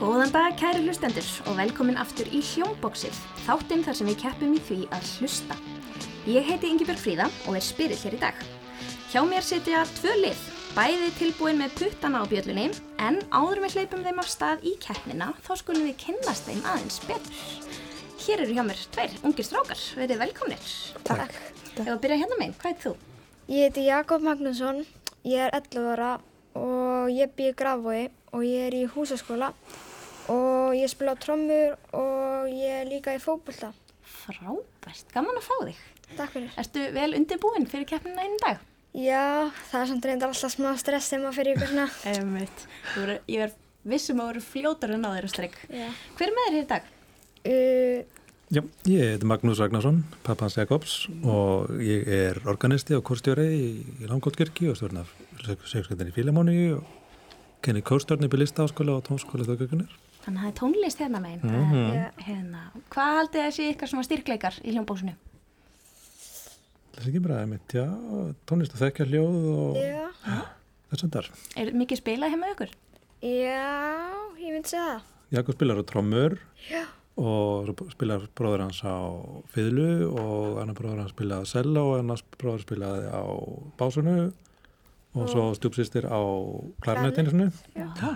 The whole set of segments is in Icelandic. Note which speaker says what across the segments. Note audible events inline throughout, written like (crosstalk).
Speaker 1: Góðan dag kæri hlustendur og velkomin aftur í Hljómboksið, þáttinn þar sem við keppum í því að hlusta. Ég heiti Ingibjörg Fríða og er spyrill hér í dag. Hjá mér sitja tvö lið, bæði tilbúin með puttana á bjöllunni, en áður en við hleypum þeim af stað í keppnina, þá skulum við kynnast þeim aðeins betur. Hér eru hjá mér tveir ungir strákar, verið velkomnir.
Speaker 2: Takk.
Speaker 1: Ef að byrja hérna meginn, hvað er þú?
Speaker 2: Ég heiti Jakob Magnússon, ég er 11 ára og ég bý í Grafói og ég er í húsaskóla og ég spila á trommur og ég er líka í fókbalta.
Speaker 1: Frábært, gaman að fá þig.
Speaker 2: Takk fyrir.
Speaker 1: Ertu vel undirbúin fyrir keppnina einn dag?
Speaker 2: Já, það er samt reyndar alltaf smá stress þegar maður fyrir ykkur svona.
Speaker 1: Einmitt. Þú voru, ég er vissum að voru fljótar en á þeirra strikk.
Speaker 2: Já.
Speaker 1: Hver er með þér hér í dag?
Speaker 2: Uh,
Speaker 3: Já, ég heiti Magnús Ragnarsson, pappans Jakobs og ég er organisti og kórstjóri í, í Langóldkirkju og stjórn af segjumskendinni Fílamóni og kenni kórstjórni í listaháskóla og tónskóla þaukökunar.
Speaker 1: Þannig að það er tónlist hérna megin. Mm hérna. Hvað haldið þið að sé ykkar svona styrkleikar í hljómbósinu?
Speaker 3: Það er ekki bara, einmitt, já, tónlist og þekkja hljóð og
Speaker 2: já.
Speaker 3: þess að þar.
Speaker 1: Er mikið spilað heima hjá ykkur?
Speaker 2: já, ég myndi segja það.
Speaker 3: Jakob spilar á trommur
Speaker 2: Já.
Speaker 3: og svo spilar bróður hans á fiðlu og annar bróður hans spilaði á sella og annars bróður spilaði á básunu og svo stjúpsistir á klarnettinu svona.
Speaker 1: Já.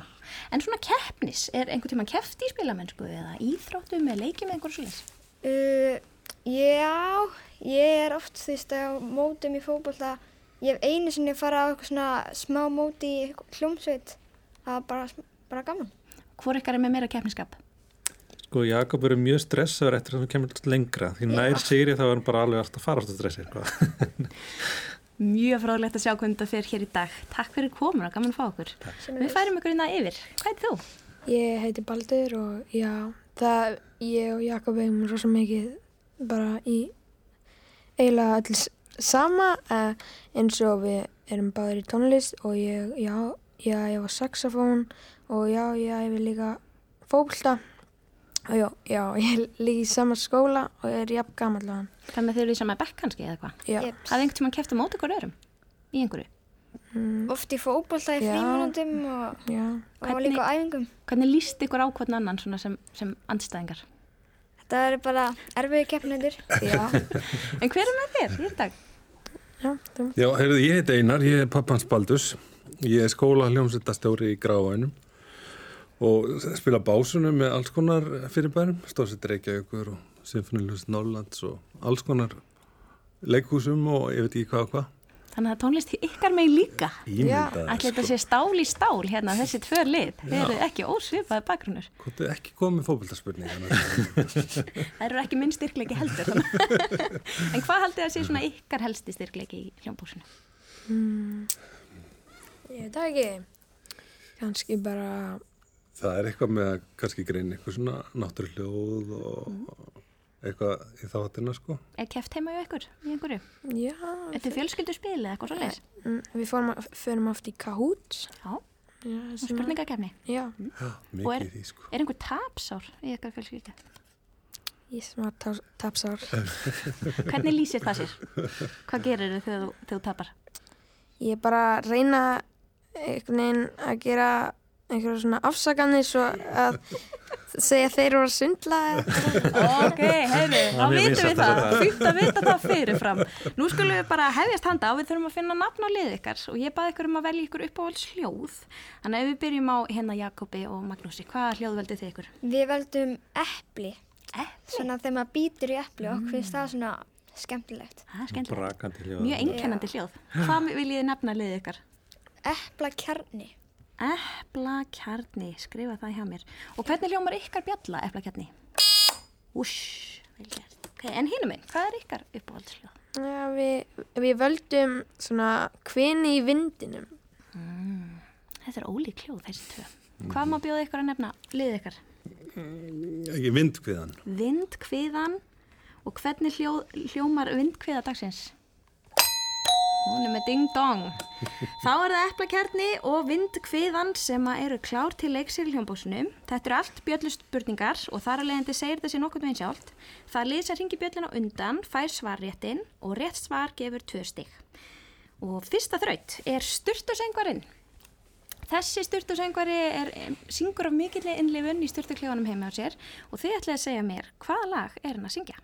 Speaker 1: En svona keppnis, er einhvern tíma keft í spilamennsku eða íþróttum eða leikið með einhverjum svoleiðis?
Speaker 2: Uh, já, ég er oft þú veist á mótum í fókbalta. Ég hef einu sinni farið á eitthvað svona smá móti í hljómsveit. Það var bara, bara gaman.
Speaker 1: Hvor ykkar er með meira keppniskap?
Speaker 3: Sko Jakob verið mjög stressaður eftir að hann kemur lengra því nær sigri þá er hann bara alveg alltaf farast að stressa eitthvað.
Speaker 1: Mjög fráðlegt að sjá hvernig þetta fer hér í dag. Takk fyrir komuna, gaman að fá okkur. Við færum ykkur hérna yfir. Hvað er þú?
Speaker 4: Ég heiti Baldur og já, það ég og Jakob eigum rosa mikið bara í eiginlega öll s- sama eh, eins og við erum báðir í tónlist og ég, já, já, ég var saxofón og já, já, ég vil líka fókbalta og já, já, (laughs) ég er líka í sama skóla og ég er jafn gamall á hann.
Speaker 1: Þannig að þið eru í sama bekk kannski eða hvað?
Speaker 4: Já,
Speaker 2: Ég-
Speaker 1: Hafið einhvern tíma keft á móti ykkur öðrum? Í einhverju?
Speaker 2: Oft í fókbalta í
Speaker 4: Já.
Speaker 2: frímunundum og,
Speaker 4: já,
Speaker 2: og
Speaker 1: Hvernig-
Speaker 2: líka á æfingum.
Speaker 1: Hvernig líst ykkur á hvern annan svona sem, sem andstæðingar?
Speaker 2: Þetta er bara erfiði keppnendur.
Speaker 4: já,
Speaker 1: En hver er með þér í dag?
Speaker 4: já, þú,
Speaker 5: (laughs) Já, heyrðu, ég heit Einar, ég er pappans Baldus, ég er skóla hljómsveitastjóri í Grafænum og spila básunum með alls konar fyrirbærum, stóðsett Reykjavíkur og Sinfoniljus Norrlands og alls konar leikhúsum og ég veit ekki hvað og hvað.
Speaker 1: Þannig að tónlist ykkar með líka.
Speaker 5: Ímyndaður,
Speaker 1: Ætli þetta sé stál í stál hérna þessi tvö lið. Þeir eru ekki ósvipaði bakgrunnur.
Speaker 5: Hvort er ekki komið fókbaltarspurningar?
Speaker 1: Það eru ekki minn styrkleiki heldur. þannig. (laughs) en hvað haldið að sé svona ykkar helsti styrkleiki í hljómbúsinu?
Speaker 4: ég veit það ekki, kannski bara,
Speaker 5: Það er eitthvað með að kannski greina eitthvað svona náttúrljóð og eitthvað í þáttina sko.
Speaker 1: Er keft heima hjá ykkur í einhverju?
Speaker 4: já,
Speaker 1: Þetta er fjölskylduspil eða eitthvað svo leiðis?
Speaker 4: Mm, Við fórum, förum oft í Kahoot.
Speaker 1: Já,
Speaker 4: Já, sem að-
Speaker 1: spurningakefni.
Speaker 4: Já,
Speaker 5: Mikið
Speaker 1: er-
Speaker 5: í því sko.
Speaker 1: Er einhver tapsár í ykkar fjölskyldu? (laughs)
Speaker 4: ég sem að tá- tapsár.
Speaker 1: Hvernig lýsir það sér? Hvað gerir þau þegar þú- þegar þú tapar?
Speaker 4: Ég bara reyna eh, einhvern veginn að gera einhverja svona afsakanir svo að segja að þeir voru að sundla. eða-
Speaker 1: Ok, heyrðu, þá
Speaker 3: mér
Speaker 1: vitum
Speaker 3: finnst
Speaker 1: við það.
Speaker 3: þetta-
Speaker 1: Fýtt að vita það fyrirfram. Nú skulum við bara hefjast handa á, við þurfum að finna nafn á lið ykkar og ég baði ykkur um að velja ykkur uppáhalds hljóð. Þannig að ef við byrjum á hérna Jakobi og Magnúsi, hvaða hljóð veldið þið ykkur?
Speaker 2: Við veldum epli,
Speaker 1: Epli.
Speaker 2: svona þegar maður býtur í epli og okkur finnst það svona skemmtilegt.
Speaker 1: Það er skemmtilegt.
Speaker 3: Brakandi hljóð.
Speaker 1: Mjög einkennandi hljóð. Hvað viljið þið nafna lið ykkar?
Speaker 2: Epla kjarni.
Speaker 1: Epla kjarni, skrifa það hjá mér. Og hvernig hljómar ykkar bjalla epla kjarni? Úsh, vel gert. Ok, en hinum minn, hvað er ykkar uppáhalds hljóð?
Speaker 4: Já, við, við völdum svona kvini í vindinum.
Speaker 1: Þetta er ólík hljóð þessi tvö. Hvað má bjóða ykkur að nefna lið ykkar?
Speaker 5: Ekki vindkviðan.
Speaker 1: vindkviðan og hvernig hljó, hljómar vindkviða dagsins? Hún er með ding-dong. Þá er það eplakerni og vindkviðan sem að eru klár til leiks í hljómbósinu. Þetta eru allt bjöllustbörningar og þar að leiðandi segir þessi nokkurn veginn sjálft. Það lið sem ringi bjöllina undan fær svarréttin og rétt svar gefur tvö stig. Og fyrsta þraut er styrtusengvarinn. Þessi styrtusöngvari er, em, syngur af mikilli innlifun í styrtuklefanum heima á sér og þið ætlaði að segja mér hvaða lag er hann að syngja.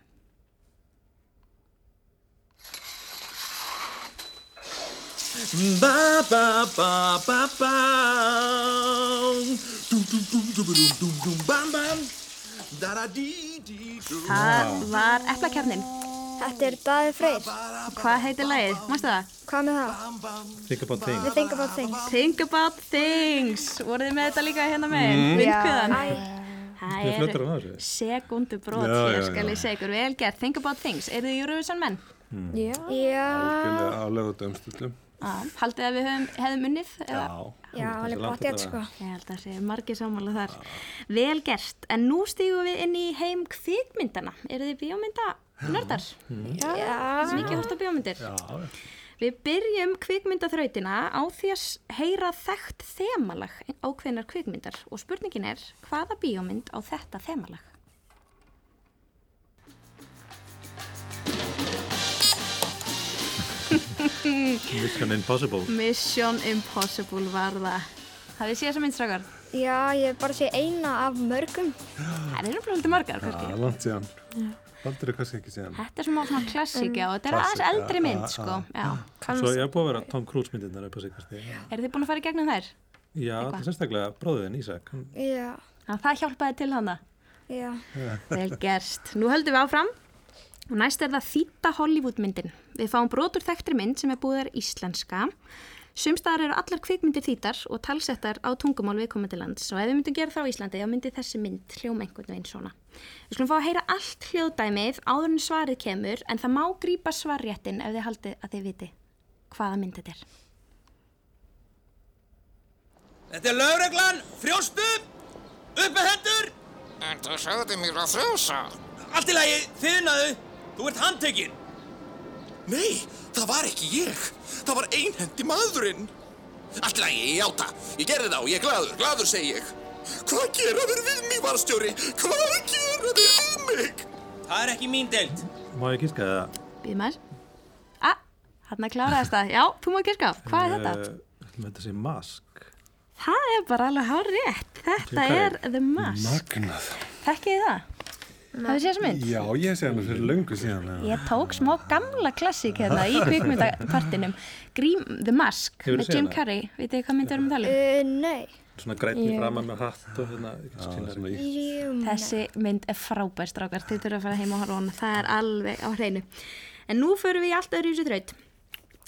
Speaker 6: Ba ba ba ba ba. Dum dum dum dum dum dum dum bam bam. Da da di di dum.
Speaker 1: Það var eplakjarnin.
Speaker 2: Þetta er Daði Freyr.
Speaker 1: Hvað heitir lagið? Mástu það?
Speaker 2: Hvað með það?
Speaker 3: Think about things.
Speaker 2: Við think about things.
Speaker 1: Think about things. Voruð þið með þetta líka hérna með mm. vindkviðan? Það
Speaker 3: Ég fljótur
Speaker 1: er
Speaker 3: á þessu.
Speaker 1: sekundu brot,
Speaker 5: Já, já,
Speaker 1: ég
Speaker 5: já.
Speaker 1: skal ég segja ykkur vel gert. Think about things. Eru þið Eurovision menn?
Speaker 4: Já.
Speaker 2: Já,
Speaker 5: Algjörlega á lögutömstöldum.
Speaker 1: Haldið að við höfum, hefðum unnið? eða?
Speaker 2: já, alveg bótt ég sko.
Speaker 1: Ég held að sé margir sammála þar. Vel gert, en nú stígum við inn í heim kvikmyndana. Eru þið bíómynda nördar?
Speaker 2: Já,
Speaker 1: Mikið hort á bíómyndir. Við byrjum kvikmyndaþrautina á því að s- heyra þekkt þemalag ákveðnar kvikmyndar og spurningin er hvaða bíómynd á þetta þemalag?
Speaker 3: Mission Impossible.
Speaker 1: Mission Impossible var það. Hafið séð þessa myndstrakar?
Speaker 2: já, ég hef bara sé eina af mörgum.
Speaker 1: Það eru bara haldið margar kannski.
Speaker 5: Það er langt síðan. Haldur er kannski ekki síðan.
Speaker 1: Þetta er svona svona klassíka og þetta er aðeins
Speaker 5: Klassíka,
Speaker 1: eldri mynd
Speaker 5: já,
Speaker 1: sko. Um Já.
Speaker 3: Svo ég hef búið að vera Tom Cruise myndirnar upp á sig kannski.
Speaker 1: Eru þið búin að fara í gegnum þær?
Speaker 3: Já, þetta er sérstaklega bróðiðin Ísak. hann-
Speaker 2: Já,
Speaker 1: Já, það hjálpaði til hana.
Speaker 2: já,
Speaker 1: Vel gerst. Nú höldum við áfram og næst er það þýta Hollywoodmyndin. Við fáum brotur þekktri mynd sem er búðar íslenska. Sumstaðar eru allar kvikmyndir þýtar og talsettar á tungumál viðkomandi lands og ef við myndum gera það á Íslandi þá myndi þessi mynd hljóma einhvern veginn svona. Við skulum fá að heyra allt hljóðdæmið áður en svarið kemur en það má grípa svarréttin ef þið haldið að þið viti hvaða mynd þetta er.
Speaker 6: Þetta er lögreglan, frjóstu, upp með hendur,
Speaker 7: En þú sagði mér að frjósa.
Speaker 6: allt í lagi, þiðnaðu, þú ert handtekinn. Nei, það var ekki ég, það var einhendi maðurinn. Allt í lagi, ég játa, ég gerði þá, ég er gladur, gladur segi ég. Hvað gera þér við mig, varstjóri? Hvað gera þér við mig? Það er ekki mín deild.
Speaker 3: Má ég kíska það?
Speaker 1: Býð maður. Ah, hann að klára þetta. Já, þú má kirka. Hvað er þetta?
Speaker 3: Þetta þetta sé mask.
Speaker 1: Það er bara alveg hár rétt. Þetta
Speaker 3: Hvað
Speaker 1: er
Speaker 3: er-
Speaker 1: The Mask.
Speaker 5: Magnað.
Speaker 1: Þekkið þið það? Hafið séð þessa mynd?
Speaker 5: Já, ég sé hann fyrir löngu síðan. eða.
Speaker 1: Ég tók smá gamla klassík hérna í kvikmyndapartinum. Grím, The Mask
Speaker 3: Hefurðu
Speaker 1: með
Speaker 3: séð
Speaker 1: Jim
Speaker 3: hana?
Speaker 1: Carrey. Vitið þið hvað myndið erum að tala um?
Speaker 2: uh, nei,
Speaker 3: Svona grænni yeah. framann með hatt og hérna.
Speaker 5: Það er
Speaker 3: Já,
Speaker 5: svona í-
Speaker 2: jú,
Speaker 1: Þessi mynd er frábær strákar, þið þurfum að fara heim og horfa á hana, það er alveg á hreinu. En nú förum við í allt öðru í þessu þraut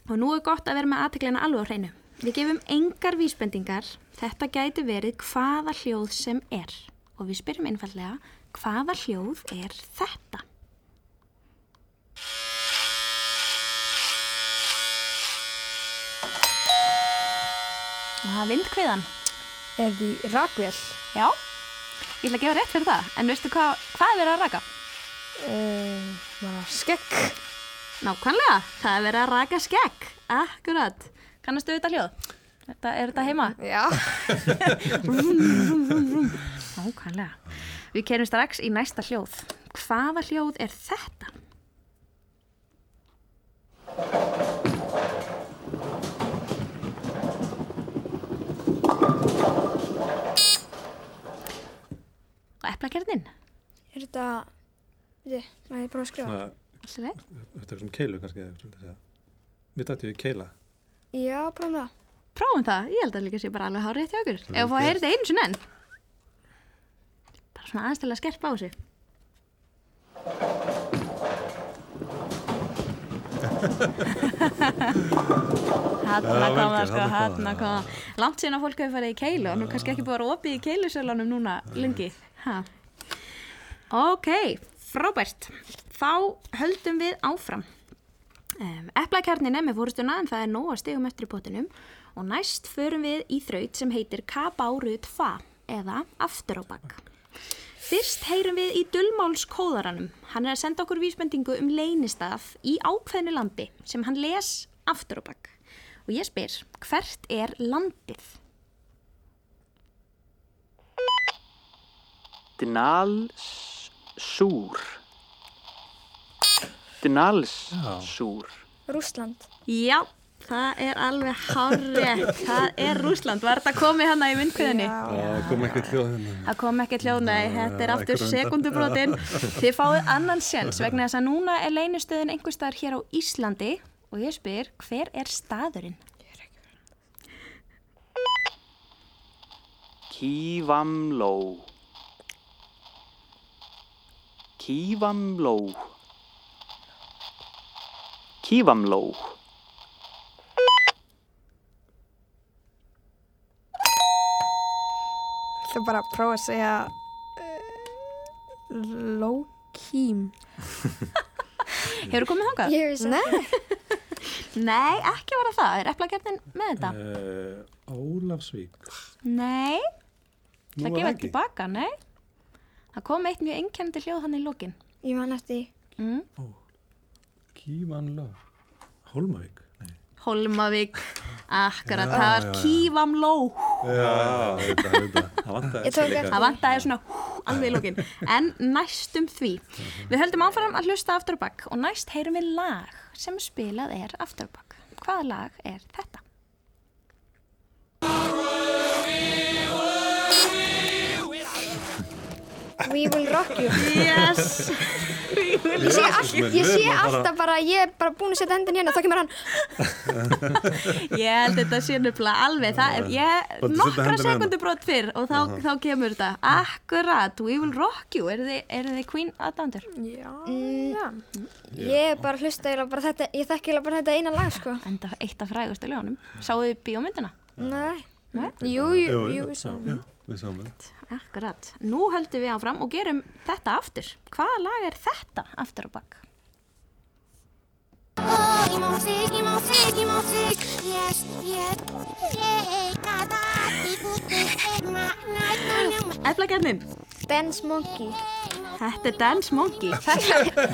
Speaker 1: og nú er gott að vera með aðteglina alveg á hreinu. Við gefum engar vísbendingar, þetta gæti verið hvaða hljóð sem er og við spyrjum einfallega hvaða hljóð er þetta? Það er vindkviðan.
Speaker 4: Er því rakvél?
Speaker 1: Já, ég ætla að gefa rétt fyrir það. En veistu hvað, hvað er verið að raka?
Speaker 4: Uh, bara skekk.
Speaker 1: Nákvæmlega, það er verið að raka skegg. Akkurat. Kannastu við þetta hljóð? Þetta, er þetta heima? (laughs)
Speaker 4: Já.
Speaker 1: Nákvæmlega. Við kerum strax í næsta hljóð. Hvaða hljóð er þetta? Og eplakernin,
Speaker 2: er þetta, veitir, maður ég bara að skrifa.
Speaker 3: svona,
Speaker 1: allt í leið?
Speaker 3: þetta er svona keilu kannski. eða eitthvað svoleiðis, eða? Við dættum við keila.
Speaker 2: Já, bara um það.
Speaker 1: prófum það, ég held að líka sé bara alveg hárið hjá okkur ef við heyrið þetta einu sinni enn bara svona aðeins til að skerpa á þessu
Speaker 5: (laughs)
Speaker 1: Hanna
Speaker 5: vel
Speaker 1: koma
Speaker 5: gert,
Speaker 1: sko,
Speaker 5: þarna kom
Speaker 1: hanna koma Langt síðan að fólk hefur farið í keilu og nú kannski ekki búið að vera opið í keilusölunum núna lengi ha. Ok, frábært Þá höldum við áfram Um, Eplakjarnin er með fórustuna en það er nóg að stigum eftir í potinum og næst förum við í þraut sem heitir Kabárut Fa eða Aftur á bak. Fyrst heyrum við í Dullmálskóðaranum. Hann er að senda okkur vísbendingu um leynistað í ákveðnu landi sem hann les aftur á bak. Og ég spyr, hvert er landið?
Speaker 8: Dnalsúr Dnalsúr
Speaker 2: Rússland.
Speaker 1: Já, Það er alveg (laughs) hárrétt, það er Rúsland, var þetta komið hana í myndkviðinni?
Speaker 5: Það kom ekkert hljóð hérna.
Speaker 1: Það kom ekki hljóð, nei, þetta er
Speaker 5: já,
Speaker 1: aftur
Speaker 5: einhver undan.
Speaker 1: sekundubrotin. Þið fáið annan séns vegna þess að núna er leynistöðin einhver staðar hér á Íslandi og ég spyr, hver er staðurinn?
Speaker 8: Kívamló Kívamló Kívamló
Speaker 4: ætla bara að prófa að segja eh, uh, Lókím
Speaker 1: Hefur komið þangað?
Speaker 2: Ég veist
Speaker 4: Nei,
Speaker 1: Nei, ekki var það það, er eflagjarnin með þetta?
Speaker 3: Uh, Ólafsvík.
Speaker 1: Nei,
Speaker 5: Nú
Speaker 1: það
Speaker 5: var
Speaker 1: gefa þetta
Speaker 5: ekki.
Speaker 1: tilbaka, nei. Það kom eitt mjög einkennandi hljóð hann í lókin.
Speaker 2: Ég man eftir því.
Speaker 1: Mm.
Speaker 5: Kívanló.
Speaker 3: Hólmavík. Nei.
Speaker 1: Holmavík, akkurat, það var kývamló.
Speaker 5: Já, þetta, þetta.
Speaker 3: Það vantaði
Speaker 2: Ég tók eftir
Speaker 1: Það
Speaker 2: því.
Speaker 1: vantaði svona hú, alveg í lókin, en næstum því. Við höldum áfram að hlusta aftur á bakk og næst heyrum við lag sem spilað er aftur á bakk. Hvaða lag er þetta?
Speaker 2: We will rock you.
Speaker 1: Yes!
Speaker 2: Ég sé, all,
Speaker 5: Jesús minn,
Speaker 2: ég
Speaker 5: við
Speaker 2: sé
Speaker 5: erum að fara-
Speaker 2: alltaf bara, ég er bara búin að setja hendin hérna, þá kemur hann.
Speaker 1: Ég held þetta sé nefnilega alveg, það er ég
Speaker 5: Láttu setja
Speaker 1: nokkra
Speaker 5: hendina hérna.
Speaker 1: sekundubrót fyrr og þá, þá kemur þetta. Akkurat, we will rock you, eru þið, eru þið Queen aðdándur?
Speaker 4: já, já.
Speaker 2: Ég er bara að hlusta, eiginlega bara þetta, ég þekki eiginlega bara þetta eina lag, sko.
Speaker 1: Enda eitt af frægustu ljónum. Sáuðu þið bíómyndina?
Speaker 2: Nei.
Speaker 4: Jú, jú,
Speaker 5: Jú,
Speaker 4: jú,
Speaker 5: jú,
Speaker 4: svo
Speaker 5: já, Við sáum þetta.
Speaker 1: Akkurat, nú höldum við áfram og gerum þetta aftur. Hvaða lag er þetta aftur á bakk?
Speaker 9: Oh, músík, í músík, í músík Yes, yes, ég gata Í búti, ég maður
Speaker 1: Eflagjarnin,
Speaker 2: Dance Monkey.
Speaker 1: þetta er Dance Monkey. Þekkja,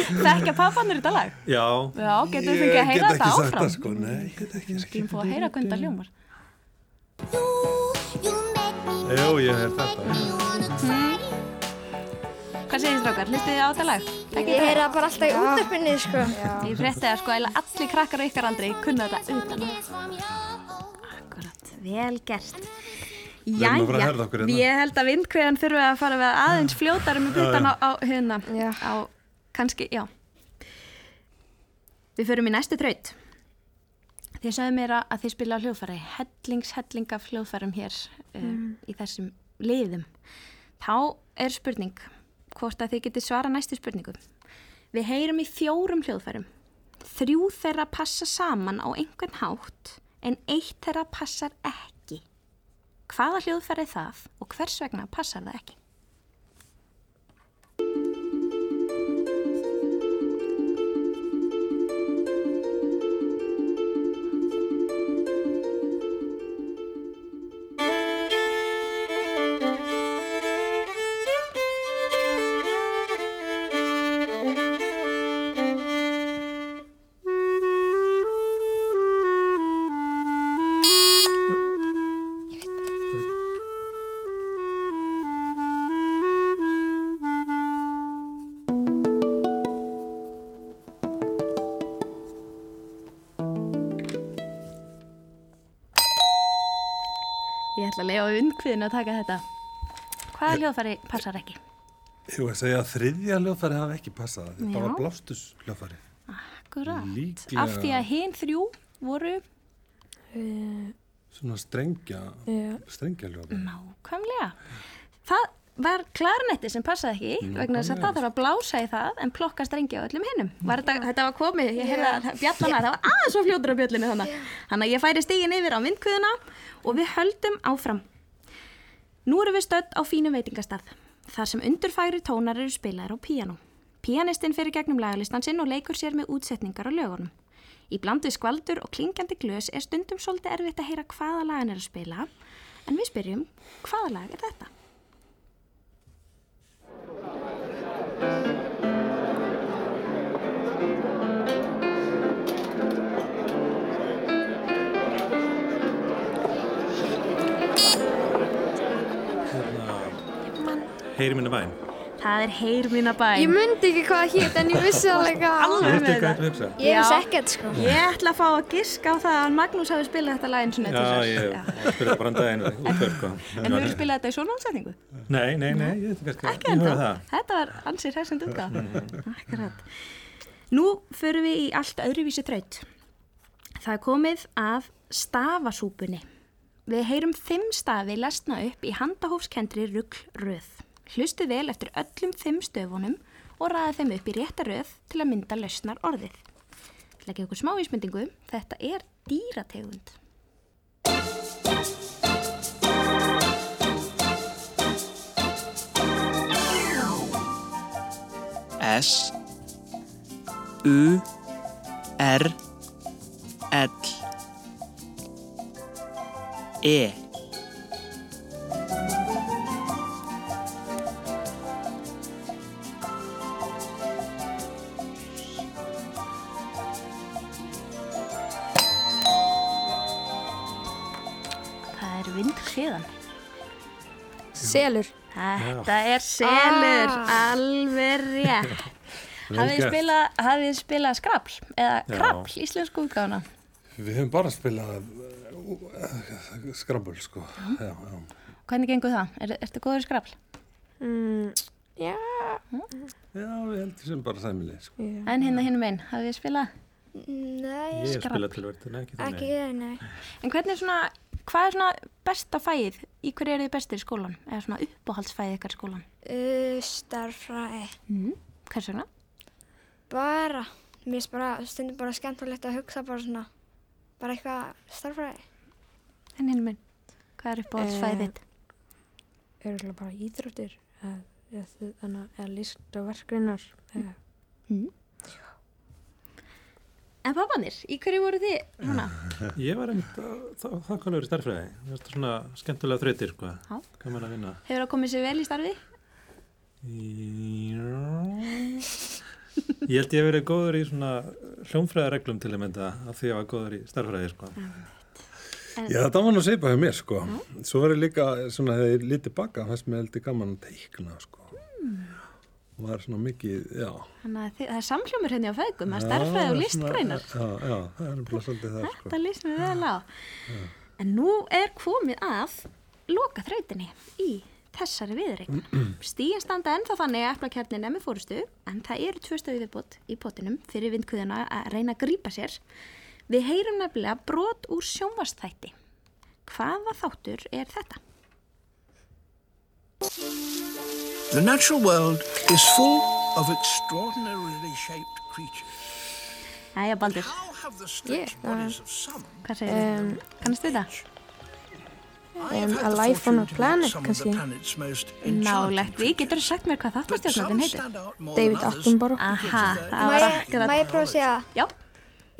Speaker 1: (laughs) þekkja pappanur þetta lag?
Speaker 3: Já.
Speaker 1: Já, getum við fengið að heyra þetta
Speaker 5: Ég get ekki sagt
Speaker 1: áfram?
Speaker 5: það sko, nei, ég get ekki sagt
Speaker 1: Ég fá að heyra hvernig það hljómar.
Speaker 9: You, you make me
Speaker 5: það. Jú, ég hef þetta.
Speaker 9: wanna try
Speaker 1: Hvað segir þið strákar? Hlustið þið á þetta lag?
Speaker 2: Ég heyri það bara alltaf í útdarpinni, sko.
Speaker 1: Ég frétti að sko eða allir krakkar á ykkar andri kunna þetta utan að.
Speaker 9: It's from your
Speaker 1: Akkurat, vel gert.
Speaker 5: erum að fara að herða okkur hérna.
Speaker 1: ég held að vindkveðan þurfi að fara að vera aðeins fljótari með bútan á, á hérna.
Speaker 4: Já.
Speaker 1: Á, kannski, já. Við förum í næstu þraut. Þið sagðu mér að að þið spila á hljóðfæri. Hellings, hellinga hljóðfærum hér um, í þessum liðum. Þá er spurning hvort að þið getið svara næstu spurningu. Við heyrum í fjórum hljóðfærum. Þrjú þeirra passa saman á einhvern hátt en eitt þeirra passar ekki. Hvaða hljóðfæri er það og hvers vegna passar það ekki? Ég ætla að leiða á undkviðinu að taka þetta. Hvaða hljóðfæri passar ekki?
Speaker 5: Ég var að segja að þriðja hljóðfæri hafi ekki passað.
Speaker 1: Já.
Speaker 5: Þetta var blástus hljóðfæri.
Speaker 1: Akkurat.
Speaker 5: Líklega-
Speaker 1: Af því að hinn þrjú voru
Speaker 5: Svona strengja,
Speaker 4: Já.
Speaker 5: strengja hljóðfæri.
Speaker 1: nákvæmlega. Það var klarnetti sem passaði ekki vegna þess að það þarf að blása í það en plokka strengi á öllum hinnum. Var þetta, þetta var komið, ég heyrði að bjallana, það var aðeins svo fljótur á bjallinu þannig. Þannig að ég færi stígin yfir á vindkviðuna og við höldum áfram. Nú erum við stödd á fínu veitingastað, þar sem undurfæri tónar eru spilaðir á píanó. Píanistinn fyrir gegnum lagalistan sinn og leikur sér með útsetningar á lögunum. Í bland við skvaldur og klingjandi glös er stundum svolítið erfitt að heyra hvaða lagin er að spila, en við spyrjum, hvaða lag er þetta?
Speaker 3: Hérna, heyri minni væn.
Speaker 1: Það er heyr mína bæn.
Speaker 4: Ég myndi ekki hvað það hétt en ég vissi alveg hvað.
Speaker 1: alveg
Speaker 3: Veistu
Speaker 1: með
Speaker 3: hvað
Speaker 1: það.
Speaker 3: þetta vipsa?
Speaker 2: Ég
Speaker 1: Já.
Speaker 2: veist ekkert sko.
Speaker 1: Ég ætla að fá að giska á það að Magnús hafi spilað þetta lag eins og
Speaker 3: Já, ég spyrir það bara en daginn útverk sko.
Speaker 1: En hefur spilað þetta í svona ánsetningu?
Speaker 3: Nei, nei, nei, ég veit kannski
Speaker 1: Ekki
Speaker 3: ég
Speaker 1: enda.
Speaker 3: huga það.
Speaker 1: Þetta var ansið hressend útgáð. Akkurat. Nú förum við í allt öðruvísi þraut. Það er komið að stafasúpunni. Við heyrum fimm stafi lesna upp í handahófskendri rugglröð. Hlustu vel eftir öllum fimm stöfunum og ræða þeim upp í rétta röð til að mynda lausnar orðið. Ég ætla að gefa okkur smá ísmyndingu. Þetta er dýrategund.
Speaker 10: S U R L E
Speaker 1: Það er vindkliðan.
Speaker 4: Selur.
Speaker 1: Þetta er selur, alveg rétt. Hafið þið
Speaker 5: gert.
Speaker 1: spilað, hafið þið spilað skrapl eða
Speaker 3: Já.
Speaker 1: krapl íslensku útgáðuna?
Speaker 5: Við höfum bara spilað uh, skrambul, sko. Já, já.
Speaker 1: Hvernig gengur það? Er, ertu góður í skrapl?
Speaker 4: Já.
Speaker 5: já, við heldum sem bara sæmilig, sko.
Speaker 1: En hérna hinn um einn, hafið þið spilað?
Speaker 2: Nei,
Speaker 3: Ég spila tilvært, nei, ekki
Speaker 2: ekki
Speaker 3: þannig.
Speaker 2: ég, nei.
Speaker 1: En hvernig er svona, hvað er svona besta fæið? Í hverju eru þið bestir í skólan? Eða svona uppáhaldsfæið ykkar í skólan?
Speaker 2: Uh, starfræði.
Speaker 1: Mm. Hvers vegna?
Speaker 2: Bara, mér finnst bara stundum bara skemmtilegt að hugsa bara svona, bara eitthvað starfræði.
Speaker 1: En hinn um einn, hvað er uppáhaldsfæið
Speaker 4: Eh,
Speaker 1: þitt?
Speaker 4: Örgulega bara íþróttir eða- eða þið- þannig að líst og verkgrinnar.
Speaker 1: En papanir, í hverju voru þið núna?
Speaker 3: (laughs) Ég var einmitt þakkalegur í starfræði. Það er svona skemmtulega þreytir, sko.
Speaker 1: Já.
Speaker 3: Gaman að vinna.
Speaker 1: Hefur það komið sér vel í starfið?
Speaker 3: Já. Ég held ég hef verið góður í svona hljómfræðareglum til að mynda af því að ég var góður í starfræði, sko.
Speaker 5: Já, þetta var nú seipa hjá mér, sko. Svo var ég líka, svona, þegar ég lítið baka, fannst mér heldur gaman að teikna, sko.
Speaker 1: Hmm.
Speaker 5: Var svona mikið, já.
Speaker 1: Þannig að þið, það er samhljómur hérna á fæðgum, að starfræði og
Speaker 5: Já,
Speaker 1: listgreinar.
Speaker 5: svona, Já, já, það er bara svolítið það, sko.
Speaker 1: Þetta lýst mér vel á. En nú er komið að loka þrautinni í þessari viðreikn. Stíin standa ennþá þannig að eflakjarnin er með fórustu en það eru tvö stöðu viðbót í potinum fyrir vindkuðuna að reyna að grípa sér. Við heyrum nefnilega brot úr sjónvastætti. Hvaða þáttur er þetta?
Speaker 10: The natural world is full of extraordinarily shaped creatures.
Speaker 1: Æja, Baldur,
Speaker 10: How have the stretched
Speaker 4: Yeah, uh,
Speaker 10: bodies of some
Speaker 1: hvað segir þið? Kannast við það?
Speaker 10: I have
Speaker 4: um,
Speaker 10: had the
Speaker 4: A Life on
Speaker 10: fortune to
Speaker 4: a
Speaker 10: meet
Speaker 4: Planet,
Speaker 10: some of the
Speaker 4: kannski.
Speaker 10: planet's most
Speaker 1: Nálægt
Speaker 10: enchanting
Speaker 1: við, getur þú sagt mér hvað
Speaker 10: but some
Speaker 1: þáttastjórnandinn heitir?
Speaker 10: stand out more
Speaker 4: David
Speaker 10: than others.
Speaker 4: Attenborough.
Speaker 1: Aha, það
Speaker 2: Má
Speaker 1: var
Speaker 2: ég, má
Speaker 1: akkurat.
Speaker 2: ég prófa að segja
Speaker 1: Já,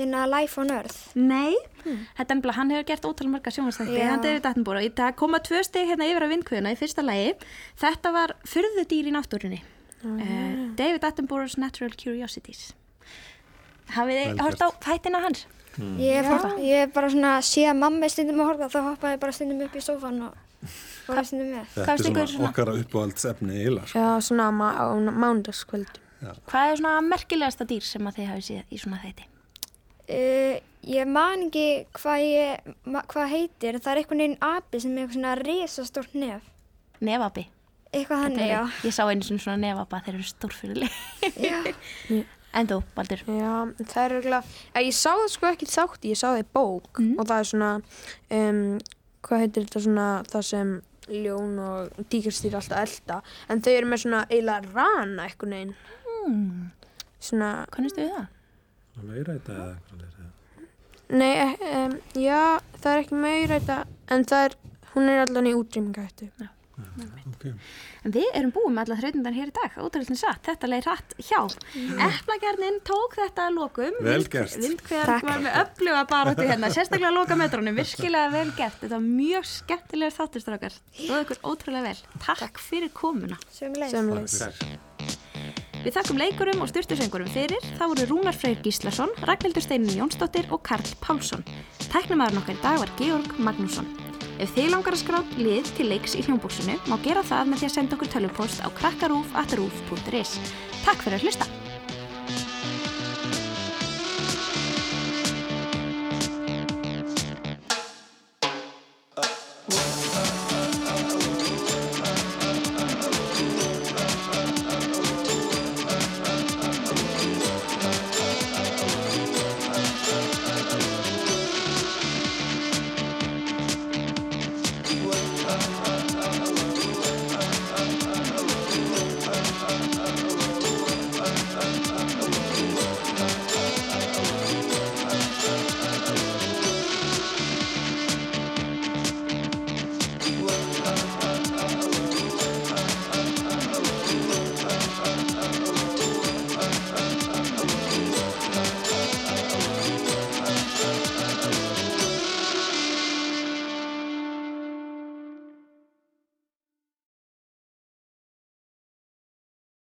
Speaker 2: inn að Life on Earth?
Speaker 1: Nei, þetta er nefnilega, hann hefur gert ótal marga sjónvastætti,
Speaker 2: Já.
Speaker 1: hann David Attenborough. Í dag koma tvö steg hérna yfir að vindkvöðuna í fyrsta lagi. Þetta var fyrðudýr í náttúrunni. Uh, David Attenborough's Natural Curiosities. Hafið
Speaker 5: Vel
Speaker 1: þið hort á þættina hans?
Speaker 2: Ég er, bara, ég er bara svona, sé að mamma er stundum að horfa, þá hoppaði ég bara stundum upp í sófan og horfa stundum með.
Speaker 5: Þetta
Speaker 1: fannst
Speaker 5: er
Speaker 1: ykkur
Speaker 5: svona
Speaker 1: svona-
Speaker 5: okkar uppáhaldsefni eiginlega, sko.
Speaker 4: Já, svona á ma- á mándagskvöldum.
Speaker 1: Hvað er svona merkilegasta dýr sem að þið hafið séð í svona þætti?
Speaker 2: Uh, ég man ekki hvað ég, ma- hvað heitir, það er einhvern veginn api sem er eitthvað svona risastórt nef.
Speaker 1: Nefabi.
Speaker 2: Eitthvað þannig, já.
Speaker 1: Ég sá einu sinni svona nefaba, þeir eru stórfyrðileg.
Speaker 2: Já.
Speaker 1: (laughs) en þú, Baldur?
Speaker 4: Já, það er eiginlega, ég sá það sko ekki þátt, ég sá það í bók og það er svona, um, hvað heitir þetta svona, það sem ljón og tíkastýr alltaf elda, en þau eru með svona eiginlega rana einhvern veginn,
Speaker 1: Hmm,
Speaker 4: svona,
Speaker 1: Hvernig stuðu það?
Speaker 3: Svona meira þetta eða eitthvað leir.
Speaker 4: nei, um, já, það er ekki mauræta, en það er, hún er alltaf í útrýminga hættu.
Speaker 1: En við erum búið með alla þrautundar hér í dag, ótrúlega satt, þetta leið hratt hjá. Mm. Eflagjarnin tók þetta að lokum.
Speaker 5: Vel
Speaker 1: Vind-
Speaker 5: gert.
Speaker 1: Vindhver var með öfluga baróttu hérna, sérstaklega að loka metrónum, virkilega vel gert. Þetta var mjög skemmtilegur þáttur, strákar. Stóðu ykkur ótrúlega vel. Takk fyrir komuna.
Speaker 2: Sömulegis.
Speaker 4: Sömulegis.
Speaker 1: Við þakkum leikurum og styrtusöngurum fyrir. Það voru Rúnar Freyr Gíslason, Ragnhildur Steinin Jónsdóttir og Karl Pálsson. Tæknumæðurinn okkar í dag var Georg Magnússon. Ef þið langar að skrá lið til leiks í hljómbóksinu má gera það með því að senda okkur tölvupóst á krakkarúf.rúf.is Takk fyrir að hlusta!